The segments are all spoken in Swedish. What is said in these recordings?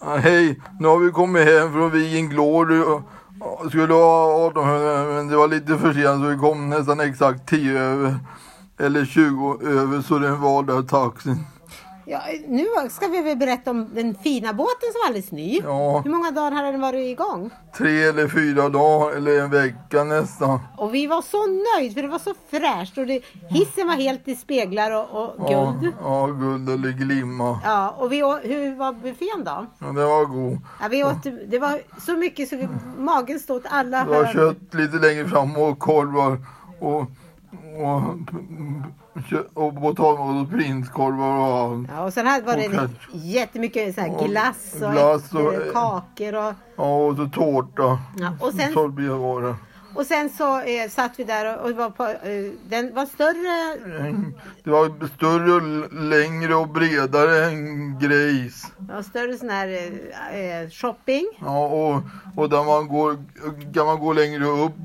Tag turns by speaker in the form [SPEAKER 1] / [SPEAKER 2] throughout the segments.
[SPEAKER 1] Hej, nu har vi kommit hem från Vigen Glory och och skulle ha 1800 men det var lite försenat så vi kom nästan exakt 10 över. Eller 20 över så den var där taxin.
[SPEAKER 2] Ja, nu ska vi väl berätta om den fina båten som var alldeles ny.
[SPEAKER 1] Ja,
[SPEAKER 2] Hur många dagar hade den varit igång?
[SPEAKER 1] tre eller fyra dagar eller en vecka nästan.
[SPEAKER 2] Och vi var så nöjda för det var så fräscht och det, hissen var helt i speglar och, och guld.
[SPEAKER 1] Ja, ja guld eller glimma.
[SPEAKER 2] Ja, och vi, å- hur var buffén då?
[SPEAKER 1] Ja, den var god.
[SPEAKER 2] Ja, vi åt, det var så mycket så vi, magen stod åt alla
[SPEAKER 1] Det var
[SPEAKER 2] hörn.
[SPEAKER 1] kött lite längre fram och korvar och, och, kö- och potatis och prinskorvar och allt.
[SPEAKER 2] Ja, och sen här var
[SPEAKER 1] Och
[SPEAKER 2] det
[SPEAKER 1] fläsk.
[SPEAKER 2] jättemycket så här
[SPEAKER 1] Och
[SPEAKER 2] glass och,
[SPEAKER 1] glass och- eh,
[SPEAKER 2] äpple- kakor och,
[SPEAKER 1] Ja, och så tårta.
[SPEAKER 2] ja, och sen
[SPEAKER 1] Sorbet var det.
[SPEAKER 2] Och sen så eh, satt vi där och, och var på, eh, den var större.
[SPEAKER 1] En- Det var större, och längre och bredare än grejs.
[SPEAKER 2] Ja, större sån här eh, eh, shopping.
[SPEAKER 1] Ja, och, och där man går, kan man gå längre upp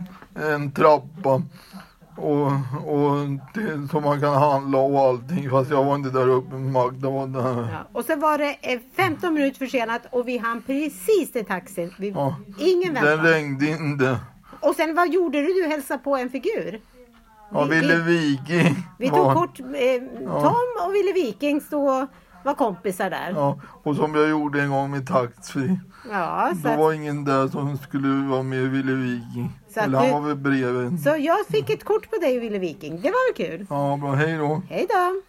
[SPEAKER 1] en trappa. Och, och till, så man kan handla och allting. Fast jag var inte där uppe, Magda var där.
[SPEAKER 2] Ja. Och sen var det eh, 15 minuter försenat och vi hann precis till taxin. Vi,
[SPEAKER 1] Ja.
[SPEAKER 2] Ingen
[SPEAKER 1] Den
[SPEAKER 2] väntan.
[SPEAKER 1] regnade inte.
[SPEAKER 2] Och sen vad gjorde du? Du hälsade på en figur.
[SPEAKER 1] Ja,
[SPEAKER 2] Vi-
[SPEAKER 1] Ville Viking.
[SPEAKER 2] Vi tog
[SPEAKER 1] var-
[SPEAKER 2] kort. Eh, Tom och Ville Viking stod och var kompisar där. Ja,
[SPEAKER 1] Ja, och som jag gjorde en gång med taxfree.
[SPEAKER 2] så,
[SPEAKER 1] Då
[SPEAKER 2] att-
[SPEAKER 1] var ingen där som skulle vara med Ville Viking.
[SPEAKER 2] Så att
[SPEAKER 1] Eller han
[SPEAKER 2] du-
[SPEAKER 1] var väl bredvid.
[SPEAKER 2] så jag fick ett kort på dig och Ville Viking. Det var väl kul?
[SPEAKER 1] Ja, bra. Hej då.
[SPEAKER 2] Hej då!